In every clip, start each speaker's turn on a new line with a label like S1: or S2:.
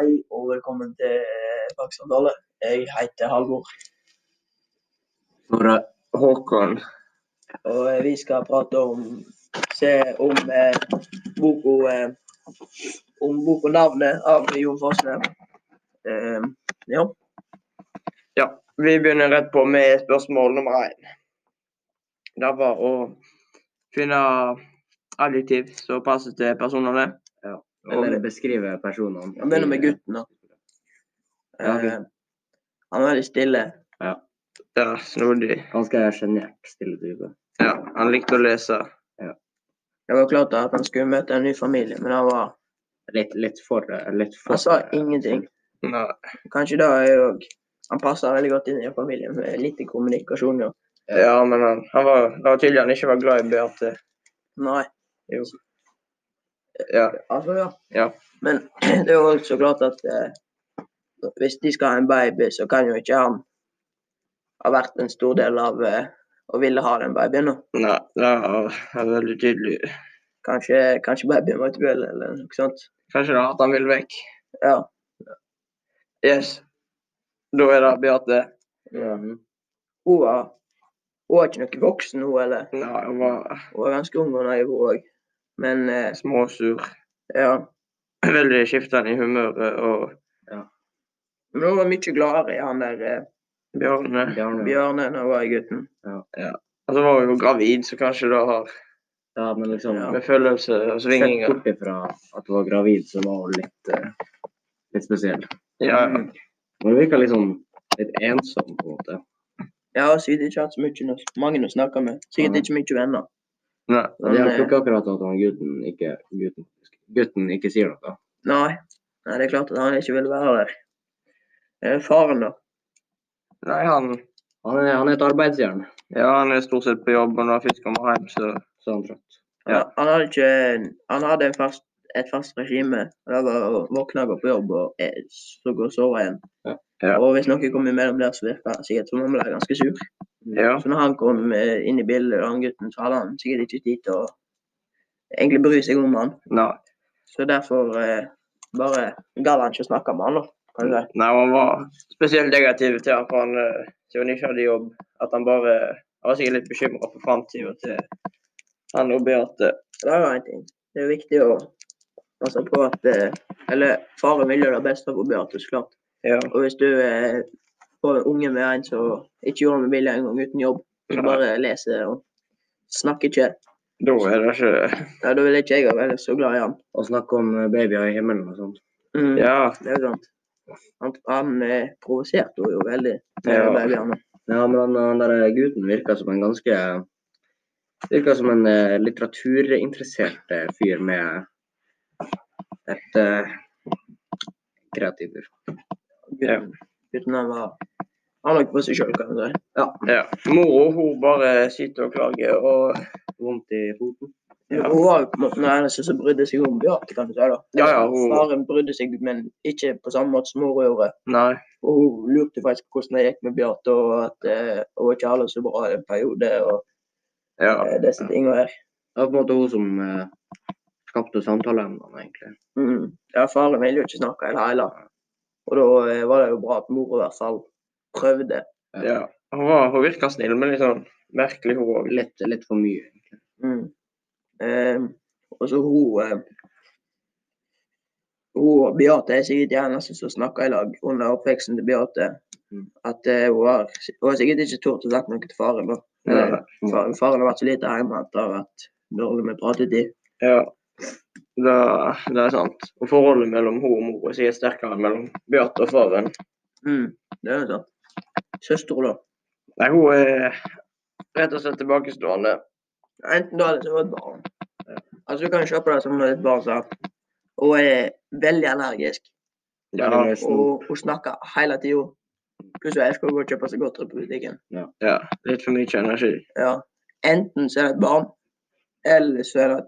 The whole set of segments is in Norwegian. S1: Hei og velkommen til Baksandale. Jeg heter Halvor,
S2: Snorre Håkon.
S1: og eh, vi skal prate om se om eh, boka eh, om boka 'Navnet' av Jon Fosne. Eh, ja.
S2: Ja, vi begynner rett på med spørsmål nummer én. Det var å finne adjektiv som passer til personene.
S3: Eller beskrive personene.
S1: Jeg begynner med gutten, da.
S3: Ja,
S1: Eh,
S3: gutten.
S1: han er veldig stille.
S2: Ja, snodig.
S3: Ganske sjenert, stille type.
S2: Ja, han likte å lese.
S1: Det var klart at han skulle møte en ny familie, men han, var,
S3: Litt, litt for litt for,
S1: han sa
S2: Altså,
S1: ingenting.
S2: Nei.
S1: Kanskje det er òg Han passer veldig godt inn i en familie med lite kommunikasjon. Ja.
S2: Ja, men han, han var, det var tydelig han ikke var glad i Beate.
S1: Nei.
S2: Jo. Ja,
S1: Altså, ja.
S2: Ja.
S1: Men det er jo også så klart at eh, hvis de skal ha en baby, så kan jo ikke han ha vært en stor del av eh, å ville ha den babyen. da.
S2: nei, det var det var veldig tydelig.
S1: Kanskje, kanskje babyen var død, eller noe sånt.
S2: Kanskje det var at han ville vekk.
S1: Ja.
S2: Yes. Da er det Beate.
S3: Mhm.
S1: Hun var, hun var ikke noe voksen, hun eller
S2: Nei, han var
S1: Hun var ganske ung og naiv, hun òg. Men eh,
S2: småsur.
S1: ja.
S2: Veldig skiftende i humøret og
S1: Men hun var mye gladere i han der eh,
S2: Bjarne.
S3: Bjarne.
S1: Bjørne enn hun var i gutten.
S2: Og så var hun jo gravid, så kanskje det har
S3: Ja, men liksom
S1: Ja.
S2: med følelse og
S3: Sett
S2: svinginger
S3: bort ifra at du var gravid, så var hun litt, eh, litt spesiell.
S2: Ja, ja.
S1: Mm.
S3: Men hun virka liksom litt ensom, på en måte.
S1: Ja, sikkert ikke hatt så mye no- mange å snakke med. Sikkert
S3: Nei.
S1: ikke mye venner.
S2: Nei.
S3: Men det
S1: Men, eh,
S3: hjelper ikke akkurat at han gutten ikke, gutten, gutten ikke sier noe.
S1: Nei. Nei, det er klart at han ikke ville være der. Eh, Faren, da.
S2: Nei, han
S3: Han er, han er et arbeidsjern,
S2: Ja, han er stort sett på jobb, og når han først kommer hjem, så
S3: så han trøtt.
S1: Han,
S2: Ja.
S1: han hadde, ikke, han hadde en fast, et fast regime. og Det var å våkne, gå på jobb og eh, så gå og sove igjen.
S3: Ja.
S2: Ja.
S1: Og hvis noe kom imellom der, så virka det sikkert som han ble ganske sur.
S2: Ja.
S1: Så når han kom eh, inn i bildet, han gutten, så hadde han sikkert ikke tid til å egentlig bry seg om han.
S2: Nei.
S1: Så derfor eh, bare gadd han ikke å snakke med han, da. Kan du si.
S2: Nei, han var spesielt negativ til han, for han eh, siden han ikke hadde jobb. At han bare Han var sikkert litt bekymra for framtida til han og Beate.
S1: Det er jo en ting. Det er viktig å passe på at eh, Eller faren vil jo det beste for Beate, så klart.
S2: Ja.
S1: Og hvis du eh, får en unge med en som ikke gjorde det med vilje engang uten jobb, så
S2: Nei.
S1: bare leser og snakker ikke,
S2: Da er det ikke
S1: ja, da ville ikke jeg ha vært så glad i han.
S3: Og snakke om eh, babyer i himmelen og sånt.
S1: Mm,
S2: Ja.
S1: Det er jo sant. Han, han eh, provoserte henne jo veldig. eh, med
S2: Ja.
S1: babyene.
S3: Ja, men han, han der eh, gutten virka som en ganske Virka som en eh, litteraturinteressert eh, fyr med et eh, kreativt ur.
S2: Ja.
S1: Gutten, gutten han var Han lå på seg sjøl, kan du si.
S2: ja. Mora, hun bare sitter og klager, og
S3: Vondt i foten.
S2: Ja.
S1: Hun var jo på en måte den eneste som brydde seg om Beate, kan du si. da.
S2: Ja, ja, hun-
S1: Faren brydde seg, men ikke på samme måte som mora gjorde.
S2: Nei.
S1: Og hun lurte faktisk på hvordan det gikk med Beate, og at eh, hun ikke hadde det så bra i en periode. og
S2: Ja.
S1: eh, disse tingene her.
S3: Det var på en måte hun som eh, skapte samtaleemnene, egentlig.
S1: Mm. Ja, Faren ville jo ikke snakke i det hele. Og da eh, var det jo bra at mora i hvert fall prøvde.
S2: ja. Hun, var, hun virka snill, men litt sånn merkelig, hun òg.
S3: Litt, litt for mye, egentlig.
S1: Mm. Eh, og så hun eh, Hun og Beate er sikkert de eneste som snakker i lag under oppveksten til Beate.
S3: Mm.
S1: At eh, hun, har, hun har sikkert ikke tort å sagt noe til faren. da.
S2: Nei.
S1: Faren, faren har vært så lite hjemme at det har vært dårlig med pratetid.
S2: Ja, det, det er sant. Og forholdet mellom hun og mor er sikkert sterkere enn mellom Beate og faren.
S1: Mm. Det er jo sant. Søstera, da.
S2: Nei, hun er rett og slett tilbakestående.
S1: Enten da eller så var det et barn. Altså Du kan se på det som et barn som hun er veldig allergisk.
S2: Ja,
S3: Veldig løs.
S1: Og hun snakker hele tida. Pluss hun elsker å gå og kjøpe seg godteri på butikken.
S2: ja, litt for mye energi.
S1: Ja. Enten så er det et barn, eller så er det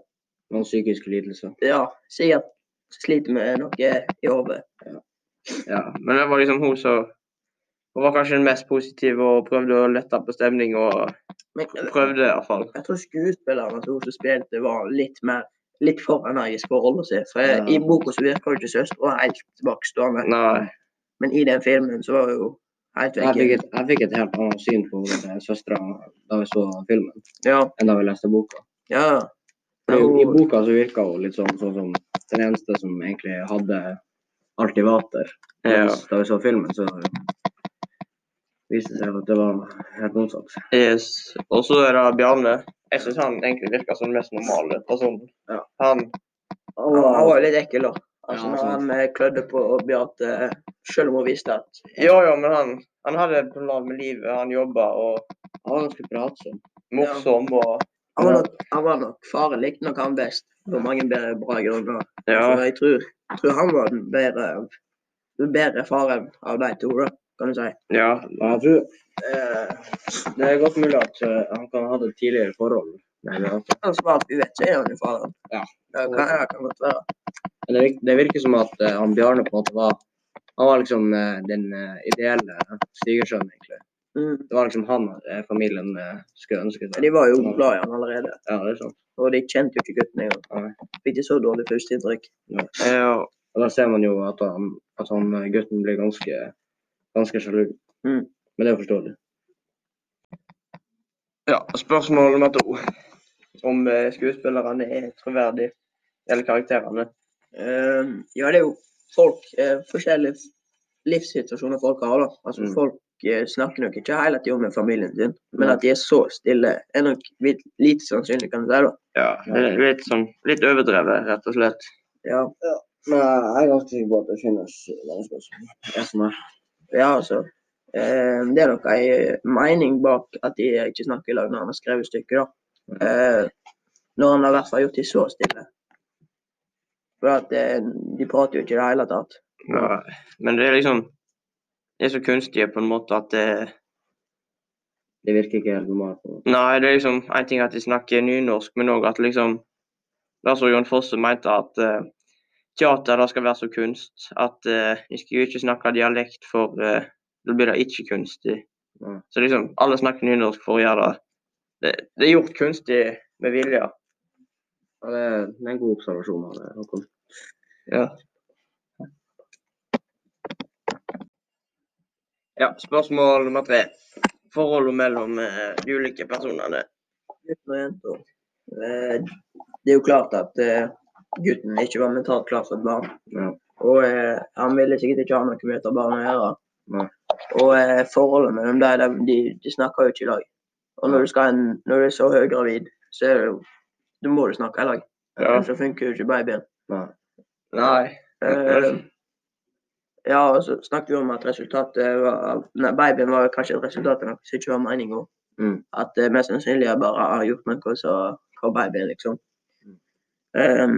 S3: Noen psykiske lidelser.
S1: ja, sikkert sliter med noe i hodet.
S2: Ja, Men det var liksom hun som Hun var kanskje den mest positive og prøvde å lette på stemning og
S1: Men
S2: prøvde iallfall.
S1: jeg tror skuespilleren altså, hun som spilte, var litt mer litt for energisk for rolla si. For jeg,
S3: Ja.
S1: i boka så virker jo ikke søstera helt tilbakestående.
S3: Nei.
S1: Men i den filmen så var hun jo helt
S3: Jeg fikk,
S1: vekk.
S3: et, jeg fikk et helt annet syn på søstera da vi så filmen,
S1: Ja,
S3: enn da vi leste boka.
S1: ja.
S3: For
S1: Ja,
S3: I
S1: hun-
S3: boka så virka hun litt sånn, sånn som den eneste som egentlig hadde alt i vater.
S2: Ja.
S3: Mens Da vi så filmen, så viste det seg at det var helt motsatt.
S2: Yes. Og så er det Bjarne. Jeg syns han egentlig virker som den mest normale personen.
S3: Ja.
S2: Han
S1: Han var- han var jo litt ekkel, da. Altså,
S3: Ja,
S1: når
S3: sant.
S1: han eh, klødde på Bjarte, eh, selv om hun visste at
S2: Jo, jo, men han, han hadde et plan med livet. Han jobba og
S3: Han var ganske pratsom.
S2: morsom og
S1: Han var nok, han var nok Faren likte nok han best, på mange bedre, bra grunner. Så
S2: Ja.
S1: jeg tror, tror han var den bedre, den bedre faren av de to, da, kan du si.
S2: ja.
S3: Men jeg tror eh, det er godt mulig at eh, han kan ha hatt et tidligere forhold. med Beate.
S1: Han svarte vi vet ikke er han jo faren.
S3: Ja.
S1: Det kan, det kan godt være.
S3: Men det virker, det virker som at eh, han Bjarne på en måte var han var liksom eh, den eh, ideelle svigersønnen, egentlig.
S1: Mm.
S3: Det var liksom han eh, familien eh, skulle ønske
S1: Men
S3: seg.
S1: De var jo glad i han allerede,
S3: Ja, det er sant.
S1: og de kjente jo ikke gutten engang.
S3: Nei.
S1: Fikk de så dårlig førsteinntrykk.
S2: ja.
S3: Og da ser man jo at han, at han eh, gutten blir ganske, ganske sjalu.
S1: Mm.
S3: Men det er forståelig.
S2: ja. Spørsmål nummer to. Om eh, skuespillerne er troverdige. Eller karakterene.
S1: Ehm, ja, det er jo folk eh, Forskjellige livssituasjoner folk har, da. Altså,
S3: Mm.
S1: Folk eh, snakker nok ikke hele tiden med familien sin, men
S3: Nei.
S1: at de er så stille, er nok vidt- lite sannsynlig, kan du si. da.
S2: Ja. Litt, sånn, litt overdrevet, rett og slett.
S1: Ja,
S3: Men eh, jeg er ganske sikker på at det finnes mennesker som er sånn som meg.
S1: ja altså. Ehm, det er nok en mening bak at de ikke snakker i lag når han har skrevet stykket, da. Ehm, når han har i hvert fall gjort de så stille. For at eh, de prater jo ikke i det hele tatt.
S2: Ja. Men det er liksom De er så kunstige på en måte at det
S3: Det virker ikke helt normalt. på en måte.
S2: Nei, det er liksom en ting at de snakker nynorsk, men òg at liksom Det som Jon Fosse mente, at eh, teater da skal være så kunst. At eh, de skal jo ikke snakke dialekt, for eh, da blir det ikke kunstig.
S3: Nei.
S2: Så liksom, alle snakker nynorsk for å gjøre det Det, det er gjort kunstig med vilje.
S3: Ja, det, er, det er en god observasjon av det. Håkon.
S2: Ja. ja spørsmål nummer tre. Forholdet mellom eh, de ulike personene.
S1: gutten og jenta. Eh, Det er jo klart at eh, gutten ikke var mentalt klar for et barn.
S3: Ja.
S1: Og eh, han ville sikkert ikke ha noe med et barn å gjøre.
S3: Nei.
S1: Og eh, forholdet mellom dem, de, de, de snakker jo ikke i lag. Og når du, skal en, når du er så høygravid, så er det jo Da må du snakke i lag.
S2: Ja.
S1: Ellers så funker jo ikke babyen.
S3: Nei.
S2: Nei.
S1: Eh, ja, og så snakket vi om at resultatet var Nei, babyen var kanskje et resultat av noe som ikke var meninga.
S3: Mm.
S1: At det mest sannsynlig jeg bare har gjort noe som for babyen, liksom. Ehm,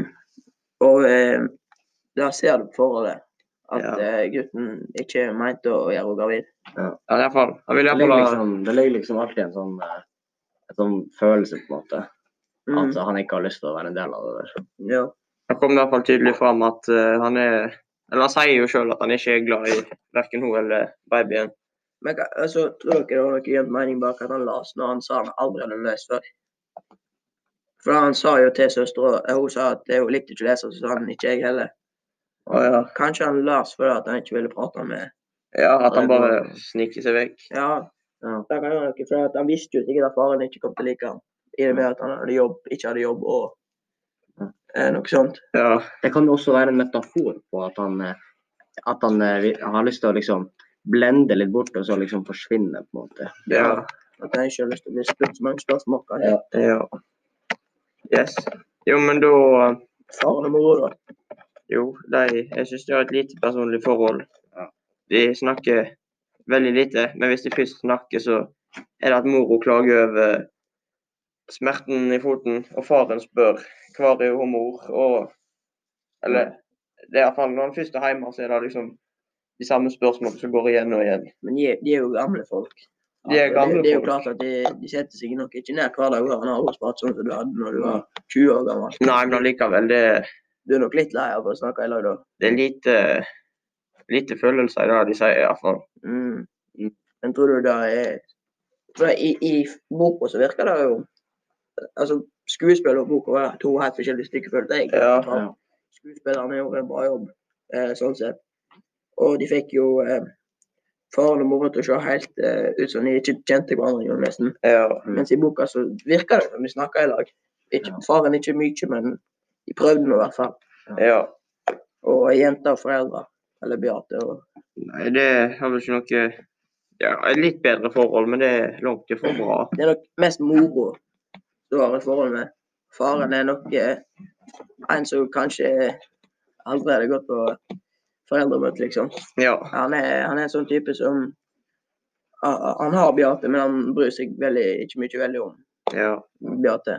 S1: og eh, der ser du på forholdet at
S2: Ja.
S1: eh, gutten ikke er meint å gjøre henne gravid.
S2: Ja, i hvert fall. Han vil i
S3: Det
S2: hvert fall
S3: ligger,
S2: ha
S3: liksom, det ligger liksom alltid en sånn, eh, en sånn følelse, på en måte.
S1: Mm.
S3: At han ikke har lyst til å være en del av det der.
S1: Ja.
S2: Det kom i hvert fall tydelig fram at eh, han er Eller han sier jo sjøl at han ikke er glad i verken hun eller babyen.
S1: Men hva- altså, tror dere det var noe gjemt mening bak at han las når han sa han aldri hadde lest før? For han sa jo til søstera eh, Hun sa at eh, hun likte ikke å lese, så sa han ikke jeg heller.
S2: Å, ja.
S1: Kanskje han las fordi at han ikke ville prate med
S2: ja, At han bare sniker seg vekk.
S1: Ja,
S3: Ja.
S1: det kan være noe, for at han visste jo sikkert at faren ikke kom til å like ham. I det med at han hadde jobb, ikke hadde jobb og eh, noe sånt.
S2: Ja.
S3: Det kan jo også være en metafor på at han, eh, at han, eh, vi- han har lyst til å liksom blende litt bort og så liksom forsvinne, på en måte.
S2: Ja.
S1: At han ikke har lyst til å bli spurt så mange spørsmål. Hva
S3: Ja.
S1: er
S2: ja. Yes. Jo, men da
S1: faren og mora, da?
S2: Jo, de Jeg syns de har et lite personlig forhold.
S3: Ja.
S2: De snakker veldig lite, men hvis de først snakker, så er det at mora klager over smerten i foten, og faren spør hvor er hun mor, og Eller det er iallfall når han først er hjemme, så er det liksom de samme spørsmålene som går igjen og igjen.
S1: Men de, er- de er jo gamle folk.
S2: De er
S1: Og
S2: gamle
S1: det, det er jo
S2: folk.
S1: klart at de, de setter seg nok ikke ned hver dag. og Han har også pratet sånn som du hadde når du var 20 år gammel.
S2: Nei, men allikevel, det,
S1: Du er nok litt lei av å snakke i lag da.
S2: det er lite, lite følelser i det de sier, iallfall.
S1: Mm.
S3: Mm.
S1: Men tror du det er For i, i boka så virker det jo Altså, Skuespill og bok var to helt forskjellige stykker, følte jeg.
S2: Ja.
S3: Ja.
S1: Skuespillerne gjorde en bra jobb, eh, sånn sett. Og de fikk jo eh, faren og moren til å se helt eh, ut som de ikke kjente hverandre, jo, nesten.
S2: Ja.
S3: Mm.
S1: Mens i boka så virka det som de snakka i lag. Ikke,
S3: Ja.
S1: Faren ikke mye, men de prøvde nå i hvert fall.
S2: ja.
S1: Og jenta og foreldre, eller Beate og
S2: Nei, det har vel ikke noe Ja, et litt bedre forhold, men det er langt ifra bra.
S1: Det er nok mest moro du har et forhold med. Faren er nok eh, en som kanskje aldri hadde gått på foreldremøte, liksom.
S2: Ja.
S1: Han er, han er en sånn type som Ah, Han har Beate, men han bryr seg veldig, ikke mye veldig om
S2: ja.
S1: Beate.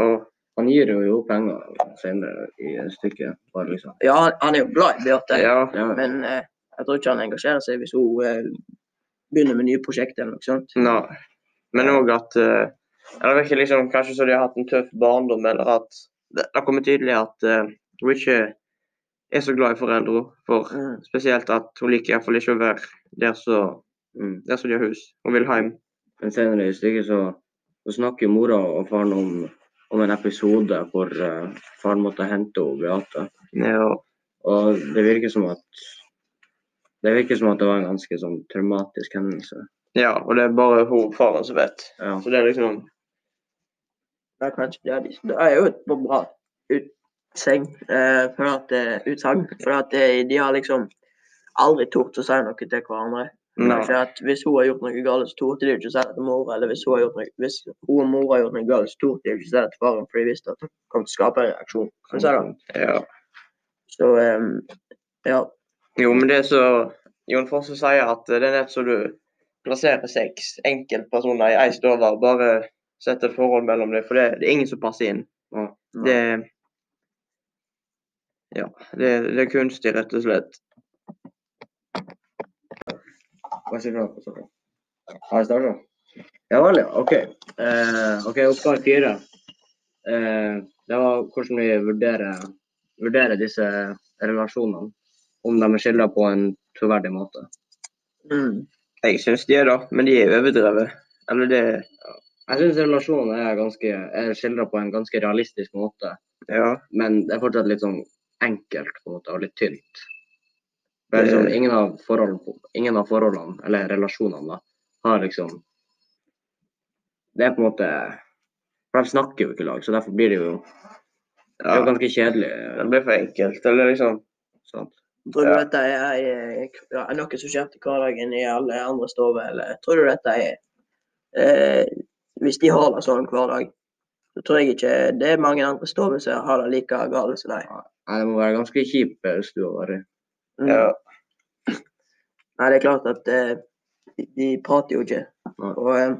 S2: Og
S3: Han gir jo jo penger senere i stykket. Bare liksom.
S1: Ja, han, han er jo glad i Beate,
S2: ja.
S3: Ja,
S1: men eh, jeg tror ikke han engasjerer seg hvis hun eh, begynner med nye prosjekter eller noe sånt.
S2: Nei. Men òg at eh, ja, Det virker liksom kanskje som de har hatt en tøff barndom, eller at det det har kommet tydelig at eh, hun ikke er så glad i foreldre. For
S1: Mm.
S2: spesielt at hun liker iallfall ikke å være der som
S3: mm.
S2: der som de har hus. Hun vil hjem.
S3: Men senere i stykket så, så snakker jo mora og faren om, om en episode hvor eh, faren måtte hente henne Beate.
S2: Ja.
S3: Og det virker som at det virker som at det var en ganske sånn traumatisk hendelse.
S2: ja, og det er bare hun og faren som vet.
S3: Ja.
S2: Så det er liksom
S1: Det er, kanskje, det, er, det er jo et bra utsegn, eh, for at, eh, utsagn. For at eh, de har liksom aldri tort å si noe til hverandre.
S2: Nei.
S1: Kanskje at Hvis hun har gjort noe galt, så torde de jo ikke si det til mora. Eller hvis hun, har gjort noe, hvis hun og mora har gjort noe galt, så torde de jo ikke si det til faren, for de visste at det kom til å skape en reaksjon. Kan du si det?
S2: Ja.
S1: Så em, ja.
S2: Jo, men det som Jon Fosse sier, at eh, det er nett som du plasserer seks enkeltpersoner i ei stove og bare setter et forhold mellom dem, for det, det er ingen som passer inn.
S3: Ja.
S2: Det Ja. Det, det er kunstig, rett og slett.
S3: Hva sier du da? Kristoffer? Har jeg starta? Ja vel, ja. OK. Eh, ok, Oppgave fire. Eh, det var hvordan vi vurderer, vurderer disse relasjonene. Om de er skildret på en troverdig måte.
S1: Mm.
S2: Jeg syns de er det, men de er overdrevet. Eller det
S3: Jeg syns relasjonen er, ganske, er skildret på en ganske realistisk måte.
S2: Ja.
S3: Men det er fortsatt litt sånn enkelt på en måte, og litt tynt. Det er liksom,
S2: Det-
S3: ingen, av forhold, ingen av forholdene, eller relasjonene, da, har liksom Det er på en måte For de snakker jo ikke i lag, så derfor blir det jo, det er jo
S2: ja.
S3: ganske kjedelig.
S2: Det blir for enkelt. Eller liksom
S3: Sant?
S1: Tror du
S2: Ja.
S1: dette er, eh, ja, er noe som skjer til hverdagen i alle andre stover, eller tror du dette er eh, Hvis de har det sånn hver dag, så tror jeg ikke det er mange andre stover som har det like galt som deg.
S3: Nei, det må være ganske kjip eh, stue å være i.
S1: Mm.
S2: Ja.
S1: Nei, det er klart at eh, de, de prater jo ikke.
S3: Nei.
S1: Og eh,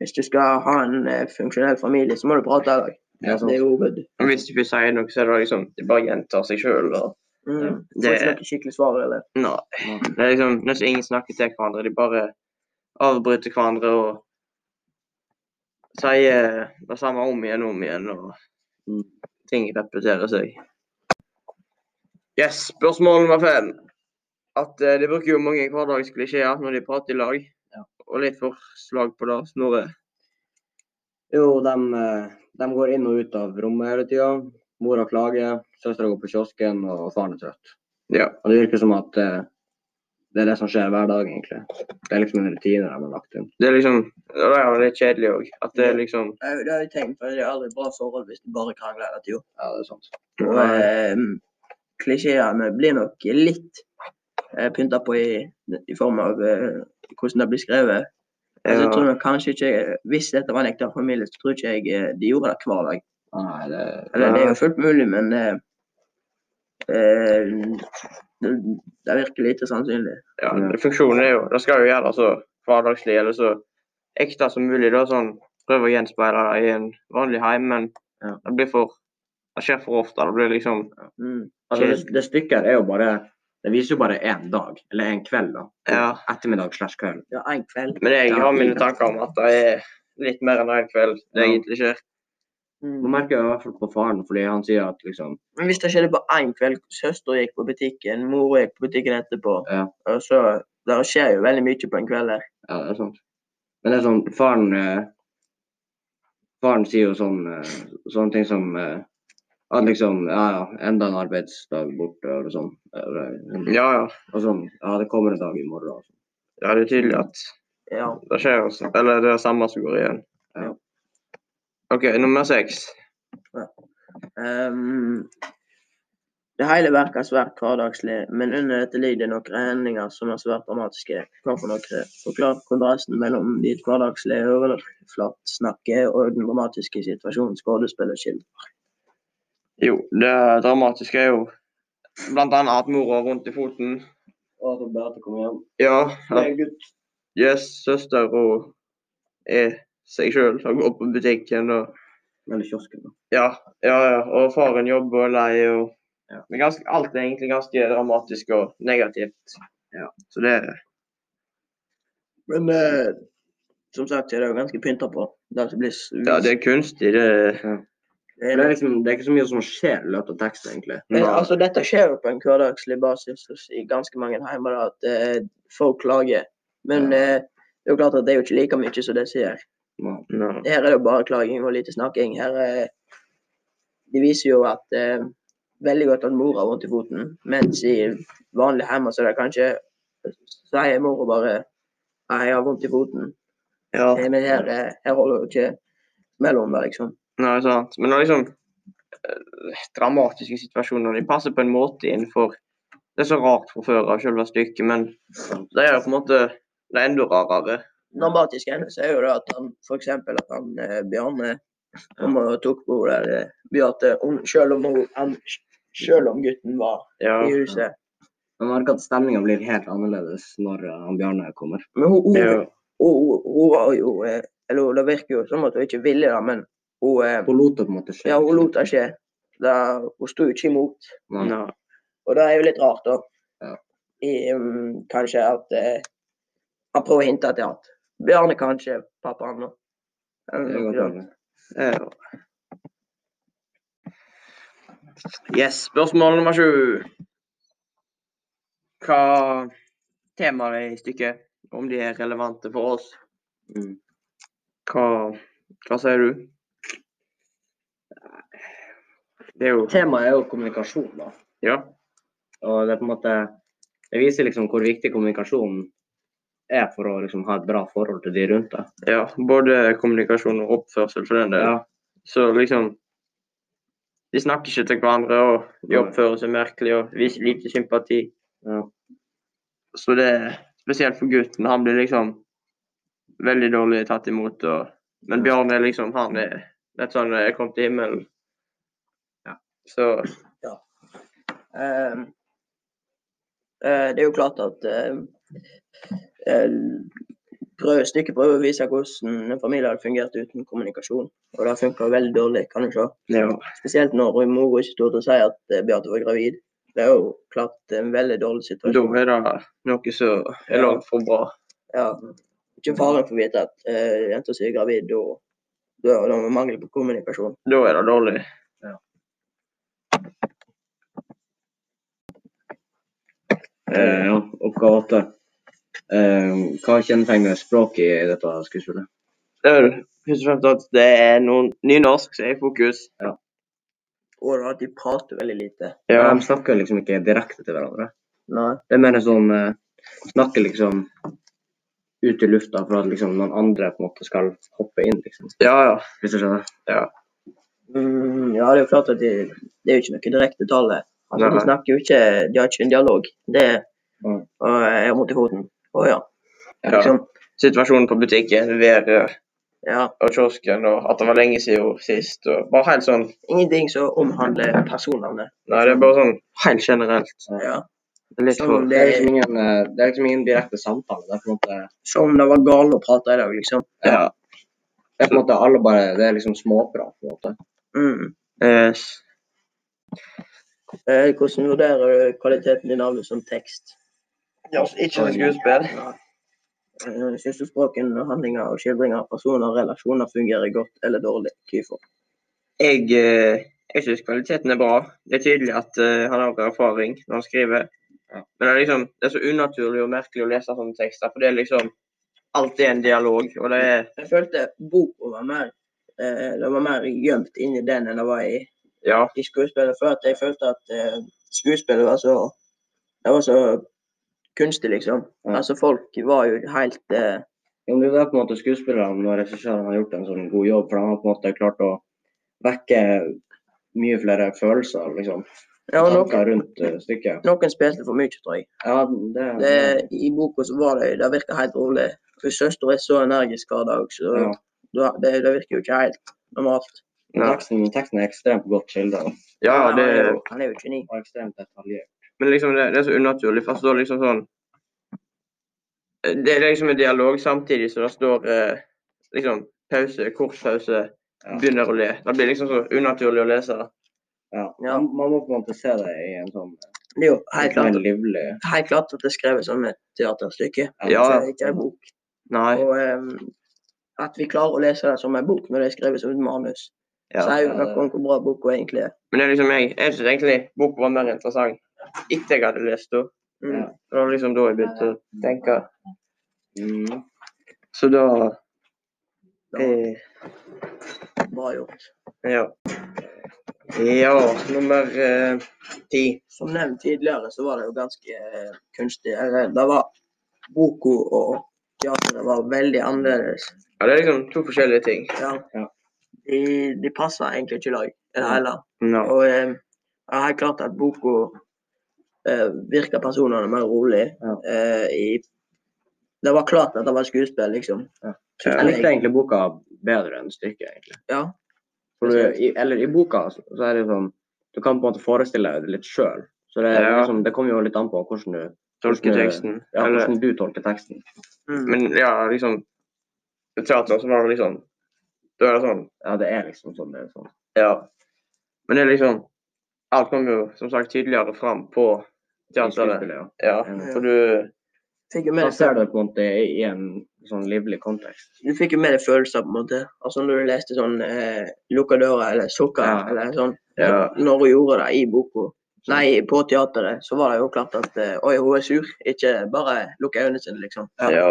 S1: hvis du skal ha en eh, funksjonell familie, så må du prate i dag.
S3: Ja, sant.
S1: Det er jo hoved.
S2: Og Hvis de ikke sier noe, så er det liksom De bare gjentar seg sjøl.
S1: Mm. Får
S2: Ja, det-
S1: ikke noe skikkelig svar, eller?
S2: Nei.
S3: Nei.
S2: Det er liksom nesten ingen snakker til hverandre. De bare avbryter hverandre og sier det samme om igjen og om igjen, og
S3: Mm.
S2: ting repeterer seg. Yes, spørsmål nummer fem. At eh, de bruker jo mange hverdagsklisjeer når de prater i lag. Og litt forslag på det, Snorre.
S3: Jo, de, eh, de går inn og ut av rommet hele tida. Mora klager, søstera går på kiosken, og faren er trøtt.
S2: Ja.
S3: Og Det virker som at eh, det er det som skjer hver dag, egentlig. Det er liksom en rutine de har lagt inn.
S2: Det er liksom og Det er jo litt kjedelig òg. At det er liksom
S1: Det er jo- det har jeg tenkt, for det er aldri bra forhold hvis du bare krangler hele tida.
S3: Ja, det er sant.
S1: Og eh, klisjeene blir nok litt eh, pynta på i, i form av eh, hvordan det blir skrevet. Altså, jeg tror
S2: ja,
S1: nok kanskje ikke, Hvis dette var en ekte familie, så tror ikke jeg eh, de gjorde det hver dag.
S3: Nei, det,
S1: Eller, det er
S2: Nei.
S1: jo fullt mulig, men eh, eh, det, det virker lite sannsynlig.
S2: ja, Funksjonen er jo Det skal jo gjøre det så hverdagslig eller så ekte som mulig. da, sånn Prøve å gjenspeile det i en vanlig heim, men
S3: Ja.
S2: det blir for Det skjer for ofte. Det blir liksom
S1: Mm.
S3: altså, det, det stykket her er jo bare Det viser jo bare én dag, eller én kveld, da.
S2: Ja.
S3: Ettermiddag slash kveld.
S1: Ja, en kveld.
S2: Men jeg har mine tanker om at det er litt mer enn en kveld det
S3: Ja.
S2: egentlig skjer.
S3: Nå
S1: Mm.
S3: merker jeg i hvert fall på faren, fordi han sier at liksom
S1: Men hvis det skjedde på én kveld, søster gikk på butikken, mor gikk på butikken etterpå,
S3: Ja.
S1: og så Det skjer jo veldig mye på en kveld der.
S3: Ja, det er sant. Men det er sånn, faren eh, Faren sier jo sånn, eh, sånne ting som eh, at liksom Ja, ja, enda en arbeidsdag borte, eller sånn. Eller,
S2: Ja, ja.
S3: Og sånn. Ja, det kommer en dag i morgen. og sånn.
S2: Ja, det er tydelig at
S1: Ja.
S2: det skjer jo så- Eller det er det samme som går igjen.
S3: Ja.
S2: OK, nummer seks.
S1: Ehm, det hele virker svært hverdagslig, men under dette ligger det noen hendinger som er svært dramatiske. Hva for noe? Forklar kontrasten mellom det hverdagslige overflatesnakket og den dramatiske situasjonen skuespillet skildrer.
S2: Jo, det dramatiske er jo blant annet at mora har vondt i foten.
S3: Og at Beate kommer hjem.
S2: Ja.
S3: Det
S2: At
S3: er gutt.
S2: yes, søster og er seg sjøl og går på butikken og
S3: Eller kiosken. da.
S2: Ja, ja, ja. Og faren jobber og er lei og
S3: Ja.
S2: Men ganske, alt er egentlig ganske dramatisk og negativt.
S3: Ja.
S2: Så det er
S1: Men eh, som sagt så er det jo ganske pynta på. Det som blir s-
S2: Ja, det er kunstig. Det er
S1: det
S3: Men
S1: er
S3: Det er, liksom, det er ikke så mye som skjer i løpet av teksten, egentlig.
S1: Men
S2: Nei.
S1: altså, dette skjer jo på en hverdagslig basis hos- i ganske mange hjemmer, da, at eh, folk klager. Men
S3: Ja.
S1: eh, det er jo klart at det er jo ikke like mye som det sier.
S3: Man-
S2: Nei.
S1: Her er det jo bare klaging og lite snakking. Her eh, De viser jo at eh, veldig godt at mor har vondt i foten, mens i vanlige hjemmer så er det kanskje sier mora bare «Nei, 'Jeg har vondt i foten'.
S2: Ja.
S1: Eh, Men her, eh, her holder det jo ikke mellom det, liksom.
S2: Nei, sant. Men det er liksom eh, dramatiske situasjoner. De passer på en måte innenfor Det er så rart fra før av selve stykket, men det er jo på en måte det er enda rarere.
S1: dramatisk hendelse er jo da at han f.eks. at han eh, Bjarne kom og tok på henne der eh, Beate om, selv, om hun, han, selv om gutten var
S2: Ja.
S1: i huset.
S3: Man merker at stemninga blir helt annerledes når eh, han Bjarne kommer.
S1: Men hun, hun,
S2: Det er jo,
S1: hun, hun, hun var jo eh, Eller hun- det virker jo som at hun ikke ville det, men hun, eh,
S3: Hun lot det på en måte skje.
S1: ja, hun lot det skje. Da, hun sto jo ikke imot.
S3: Man-
S2: ja.
S1: Og det er jo litt rart, da.
S3: Ja.
S1: I, mm, kanskje at eh, han prøver å hinte til at Bjarne kanskje pappaen nå.
S3: det
S1: Eller
S3: er
S1: noe
S3: godt
S1: sånt.
S3: mulig.
S2: det er jo. Yes. Spørsmål nummer sju. Hva temaene er i stykket, om de er relevante for oss?
S3: Mm.
S2: Hva, hva sier du? Det er jo
S3: Temaet er jo kommunikasjon, da.
S2: Ja.
S3: Og det er på en måte Det viser liksom hvor viktig kommunikasjon er for å liksom ha et bra forhold til de rundt deg.
S2: Ja, både kommunikasjon og oppførsel for den del.
S3: Ja.
S2: Så liksom De snakker ikke til hverandre, og de
S3: Nei.
S2: oppfører seg merkelig og viser lite sympati.
S3: Ja.
S2: Så det er spesielt for gutten. Han blir liksom veldig dårlig tatt imot. Og, men Bjørn er liksom Han er litt sånn Jeg kom til himmelen.
S3: Ja.
S2: Så
S1: Ehm, eh, det er jo klart at uh, prøve, stykket prøver å vise hvordan en familie hadde fungert uten kommunikasjon. Og det funka veldig dårlig, kan du se.
S2: ja.
S1: Spesielt når mor ikke torde å si at eh, Beate var gravid. Det er jo klart en veldig dårlig
S2: da
S1: situasjon.
S2: er det noe som er langt for bra.
S1: Ja. Ikke faren får vite at uh, jenta si er gravid, da- da da er det mangel på kommunikasjon.
S2: Da er det dårlig.
S3: Ja.
S2: Eh,
S3: Eh, ja. Oppgave åtte. Eh, hva kjennetegner språket i dette skuespillet?
S2: Det er jo først og fremst at det er noen nynorsk som er i fokus.
S1: Og da at de prater veldig lite.
S3: De snakker liksom ikke direkte til hverandre.
S1: Nei.
S3: Det er mer en sånn eh, Snakker liksom ut i lufta for at liksom noen andre på en måte skal hoppe inn, liksom.
S2: ja. ja.
S3: Hvis du skjønner?
S1: Mm, ja, det er jo klart at de, det er jo ikke noe direkte tall her. Altså, de
S2: Nei. Mm.
S1: snakker jo ikke De har ikke en dialog. Det er
S3: Nei.
S1: og jeg har vondt i foten. Å ja.
S2: Ja.
S1: Liksom.
S2: Situasjonen på butikken, været
S1: Ja.
S2: og kiosken, og at det var lenge siden sist. Og bare helt sånn
S1: Ingenting som omhandler personnavnet.
S2: Nei, det er bare sånn helt generelt.
S1: Ja.
S2: Litt for
S1: Sånn,
S3: Det er liksom ingen, eh, det er liksom ingen direkte samtale. Det er på en måte
S1: Som det var galt å prate i dag, liksom.
S2: Ja.
S3: Det er på en måte alle bare, det er liksom småprat. på en måte.
S1: Mm.
S2: Yes.
S1: Eh, hvordan vurderer du kvaliteten i navnet som tekst?
S2: altså, ikke som skuespill.
S1: Eh, Syns du språken, handlinger og skildringer av personer og relasjoner fungerer godt eller dårlig? Hvorfor?
S2: Jeg, eh, jeg syns kvaliteten er bra. Det er tydelig at eh, han har erfaring når han skriver.
S3: Ja.
S2: Men det er liksom, det er så unaturlig og merkelig å lese sånne tekster, for det er liksom Alt er en dialog, og det er
S1: Jeg følte boka var mer eh, det var mer gjemt inni den enn det var i,
S2: Ja.
S1: i skuespillet. For at jeg følte at eh, skuespillet var så Det var så kunstig, liksom.
S3: Ja.
S1: Altså, folk var jo helt eh,
S3: Jo, men det er jo der på en måte skuespillerne og regissørene har gjort en sånn god jobb, for de har på en måte klart å vekke mye flere følelser, liksom.
S1: Ja,
S3: og
S1: noen,
S3: tanker rundt eh, stykket.
S1: noen spilte for mye, tror jeg.
S3: Ja, det,
S1: Det, Eh, I boka så var det Det virka helt rolig. For søster er så energisk hver dag, så
S3: ja.
S1: da- det, det virker jo ikke helt normalt.
S3: Men
S2: Ja.
S3: Teksten, teksten er ekstremt godt skildra og
S2: ja
S1: Men
S2: det,
S1: han, er jo, han er jo geni.
S3: ekstremt detaljert.
S2: men liksom det, det er så unaturlig. For det står liksom sånn Det er liksom en dialog samtidig som det står eh, liksom pause, kortpause,
S3: Ja.
S2: begynner å le. Det blir liksom så unaturlig å lese.
S3: Ja.
S1: Ja.
S3: Man, man må på en måte se det i en sånn
S1: Det er jo helt
S3: litt mer
S1: klart,
S3: livlig
S1: helt klart at det er skrevet som et teaterstykke.
S2: Ja.
S1: Så det er ikke en bok.
S2: Nei.
S1: Og em, at vi klarer å lese det som en bok når det er skrevet som et manus,
S2: Ja.
S1: sier jo
S3: ja,
S1: noe om hvor bra boka egentlig er.
S2: Men det er liksom jeg, jeg synes egentlig boka var mer interessant etter jeg hadde lest den.
S1: Mm.
S3: Ja.
S2: Det var liksom da jeg begynte å tenke.
S3: Mm.
S2: Så da
S1: Det
S2: eh,
S1: var bra gjort.
S2: Ja. Ja, nummer eh, ti.
S1: Som nevnt tidligere, så var det jo ganske eh, kunstig. Eller det var boka og teateret var veldig annerledes.
S2: Ja, det er liksom to forskjellige ting.
S1: Ja.
S3: Ja.
S1: De, de passa egentlig ikke i lag i det hele.
S2: Ja.
S1: Og eh, jeg har klart at boka eh, virker personene mer rolig.
S3: Ja.
S1: Eh, i, det var klart at det var skuespill, liksom.
S3: Jeg likte egentlig boka bedre enn stykket, egentlig.
S1: Ja.
S3: For du, i, eller i boka så så er det sånn Du kan på en måte forestille deg det litt sjøl. Så det, er
S2: Ja.
S3: liksom, det kommer jo litt an på hvordan du,
S2: Tolke teksten.
S3: ja,
S2: Eller,
S3: hvordan du tolker teksten.
S1: Mm.
S2: men ja, liksom I teater så var det liksom Da er det sånn.
S3: Ja, det er liksom sånn det er sånn.
S2: Ja. Men det er liksom Alt kommer jo som sagt tydeligere fram på
S3: i
S2: teateret.
S3: skuespillet,
S2: Ja, for du
S1: fikk jo
S3: Ja.
S1: med
S3: Da
S1: deg
S3: ser du det på en måte i, i en sånn livlig kontekst.
S1: du fikk jo med deg følelser, på en måte. Altså Når du leste sånn eh, 'Lukka døra' eller 'Sukker'
S3: Ja.
S1: eller sånn.
S2: Ja.
S1: Når hun gjorde det i boka, nei, på teateret, så var det jo klart at eh, 'oi, hun er sur'. Ikke bare lukke øynene sine, liksom.
S2: Ja.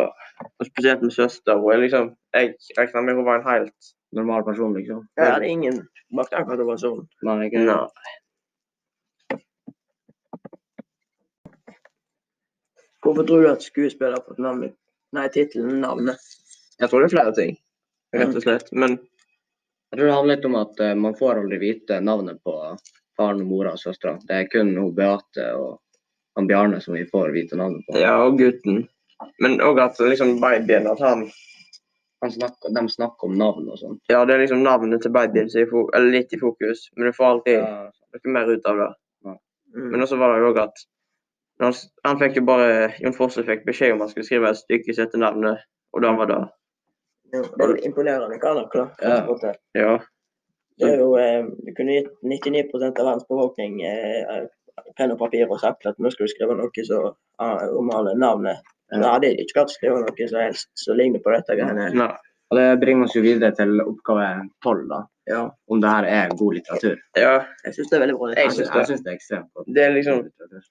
S2: Og spesielt med søster. Hun er liksom Jeg regna med hun var en helt
S3: Normal person, liksom.
S1: Jeg hadde ingen baktanker at det var sånn.
S3: Nei, ikke
S2: Nei.
S1: Hvorfor tror du at skuespiller har fått navnet? Nei, tittelen navnet.
S2: Jeg tror det er flere ting, rett og slett. Men
S3: Jeg tror det handler litt om at eh, man får aldri vite navnet på faren og mora og søstera. Det er kun hun Beate og han Bjarne som vi får vite navnet på.
S2: Ja, og gutten. Men òg at liksom babyen at han
S3: Han snakker, de snakker om navn og sånn.
S2: Ja, det er liksom navnet til babyen som er i fo- eller litt i fokus, men du får alltid
S3: Ja.
S2: noe mer ut av det. Men
S1: Mm.
S2: også var det jo òg at han, s- han fikk jo bare Jon Fosse fikk beskjed om han skulle skrive et stykke som heter navnet, eh, og da var det
S1: Ja, Det er jo imponerende hva han har klart. på
S3: Ja.
S1: en måte.
S2: Ja.
S1: Det er jo, eh, Du kunne gitt 99 av verdens befolkning eh, penn og papir og sagt at nå skal du skrive noe som ah, omhandler navnet. Men da hadde jeg ikke klart å skrive noe som helst som ligner på dette. greiene. her.
S2: Nei.
S3: Og det bringer oss jo videre til oppgave tolv, da.
S1: Ja,
S3: Om det her er god litteratur.
S2: ja.
S1: Jeg syns det er veldig bra.
S2: Jeg
S1: litteratur.
S2: synes det.
S3: Jeg syns det er ekstremt godt.
S2: Det er liksom
S3: litteratur.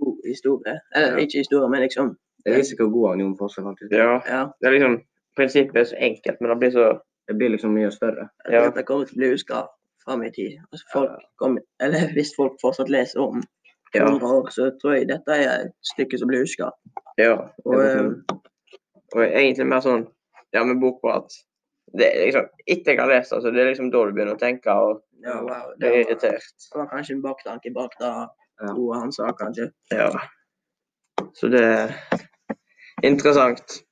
S1: god historie. Eller
S3: Ja.
S1: ikke historie, men liksom
S3: Det viser hvor god han Jon Fosse faktisk er.
S2: Ja.
S1: Ja.
S2: Det er liksom Prinsippet er så enkelt, men det blir så
S3: Det blir liksom mye større.
S1: At
S2: Ja.
S1: dette kommer til å bli huska fram i tid. Altså, folk kommer, eller hvis folk fortsatt leser om
S2: Ja.
S1: 100 år, så tror jeg dette er et stykke som blir huska.
S2: Ja.
S1: Og eh,
S2: Og egentlig mer sånn Ja, med bok på at det er liksom, Etter jeg har lest det, så det er liksom da du begynner å tenke og
S1: ja, wow,
S2: bli
S1: det var,
S2: irritert.
S1: det var kanskje en baktanke bak det
S3: Ja.
S1: gode han sa, kanskje.
S2: Ja. Så det er interessant.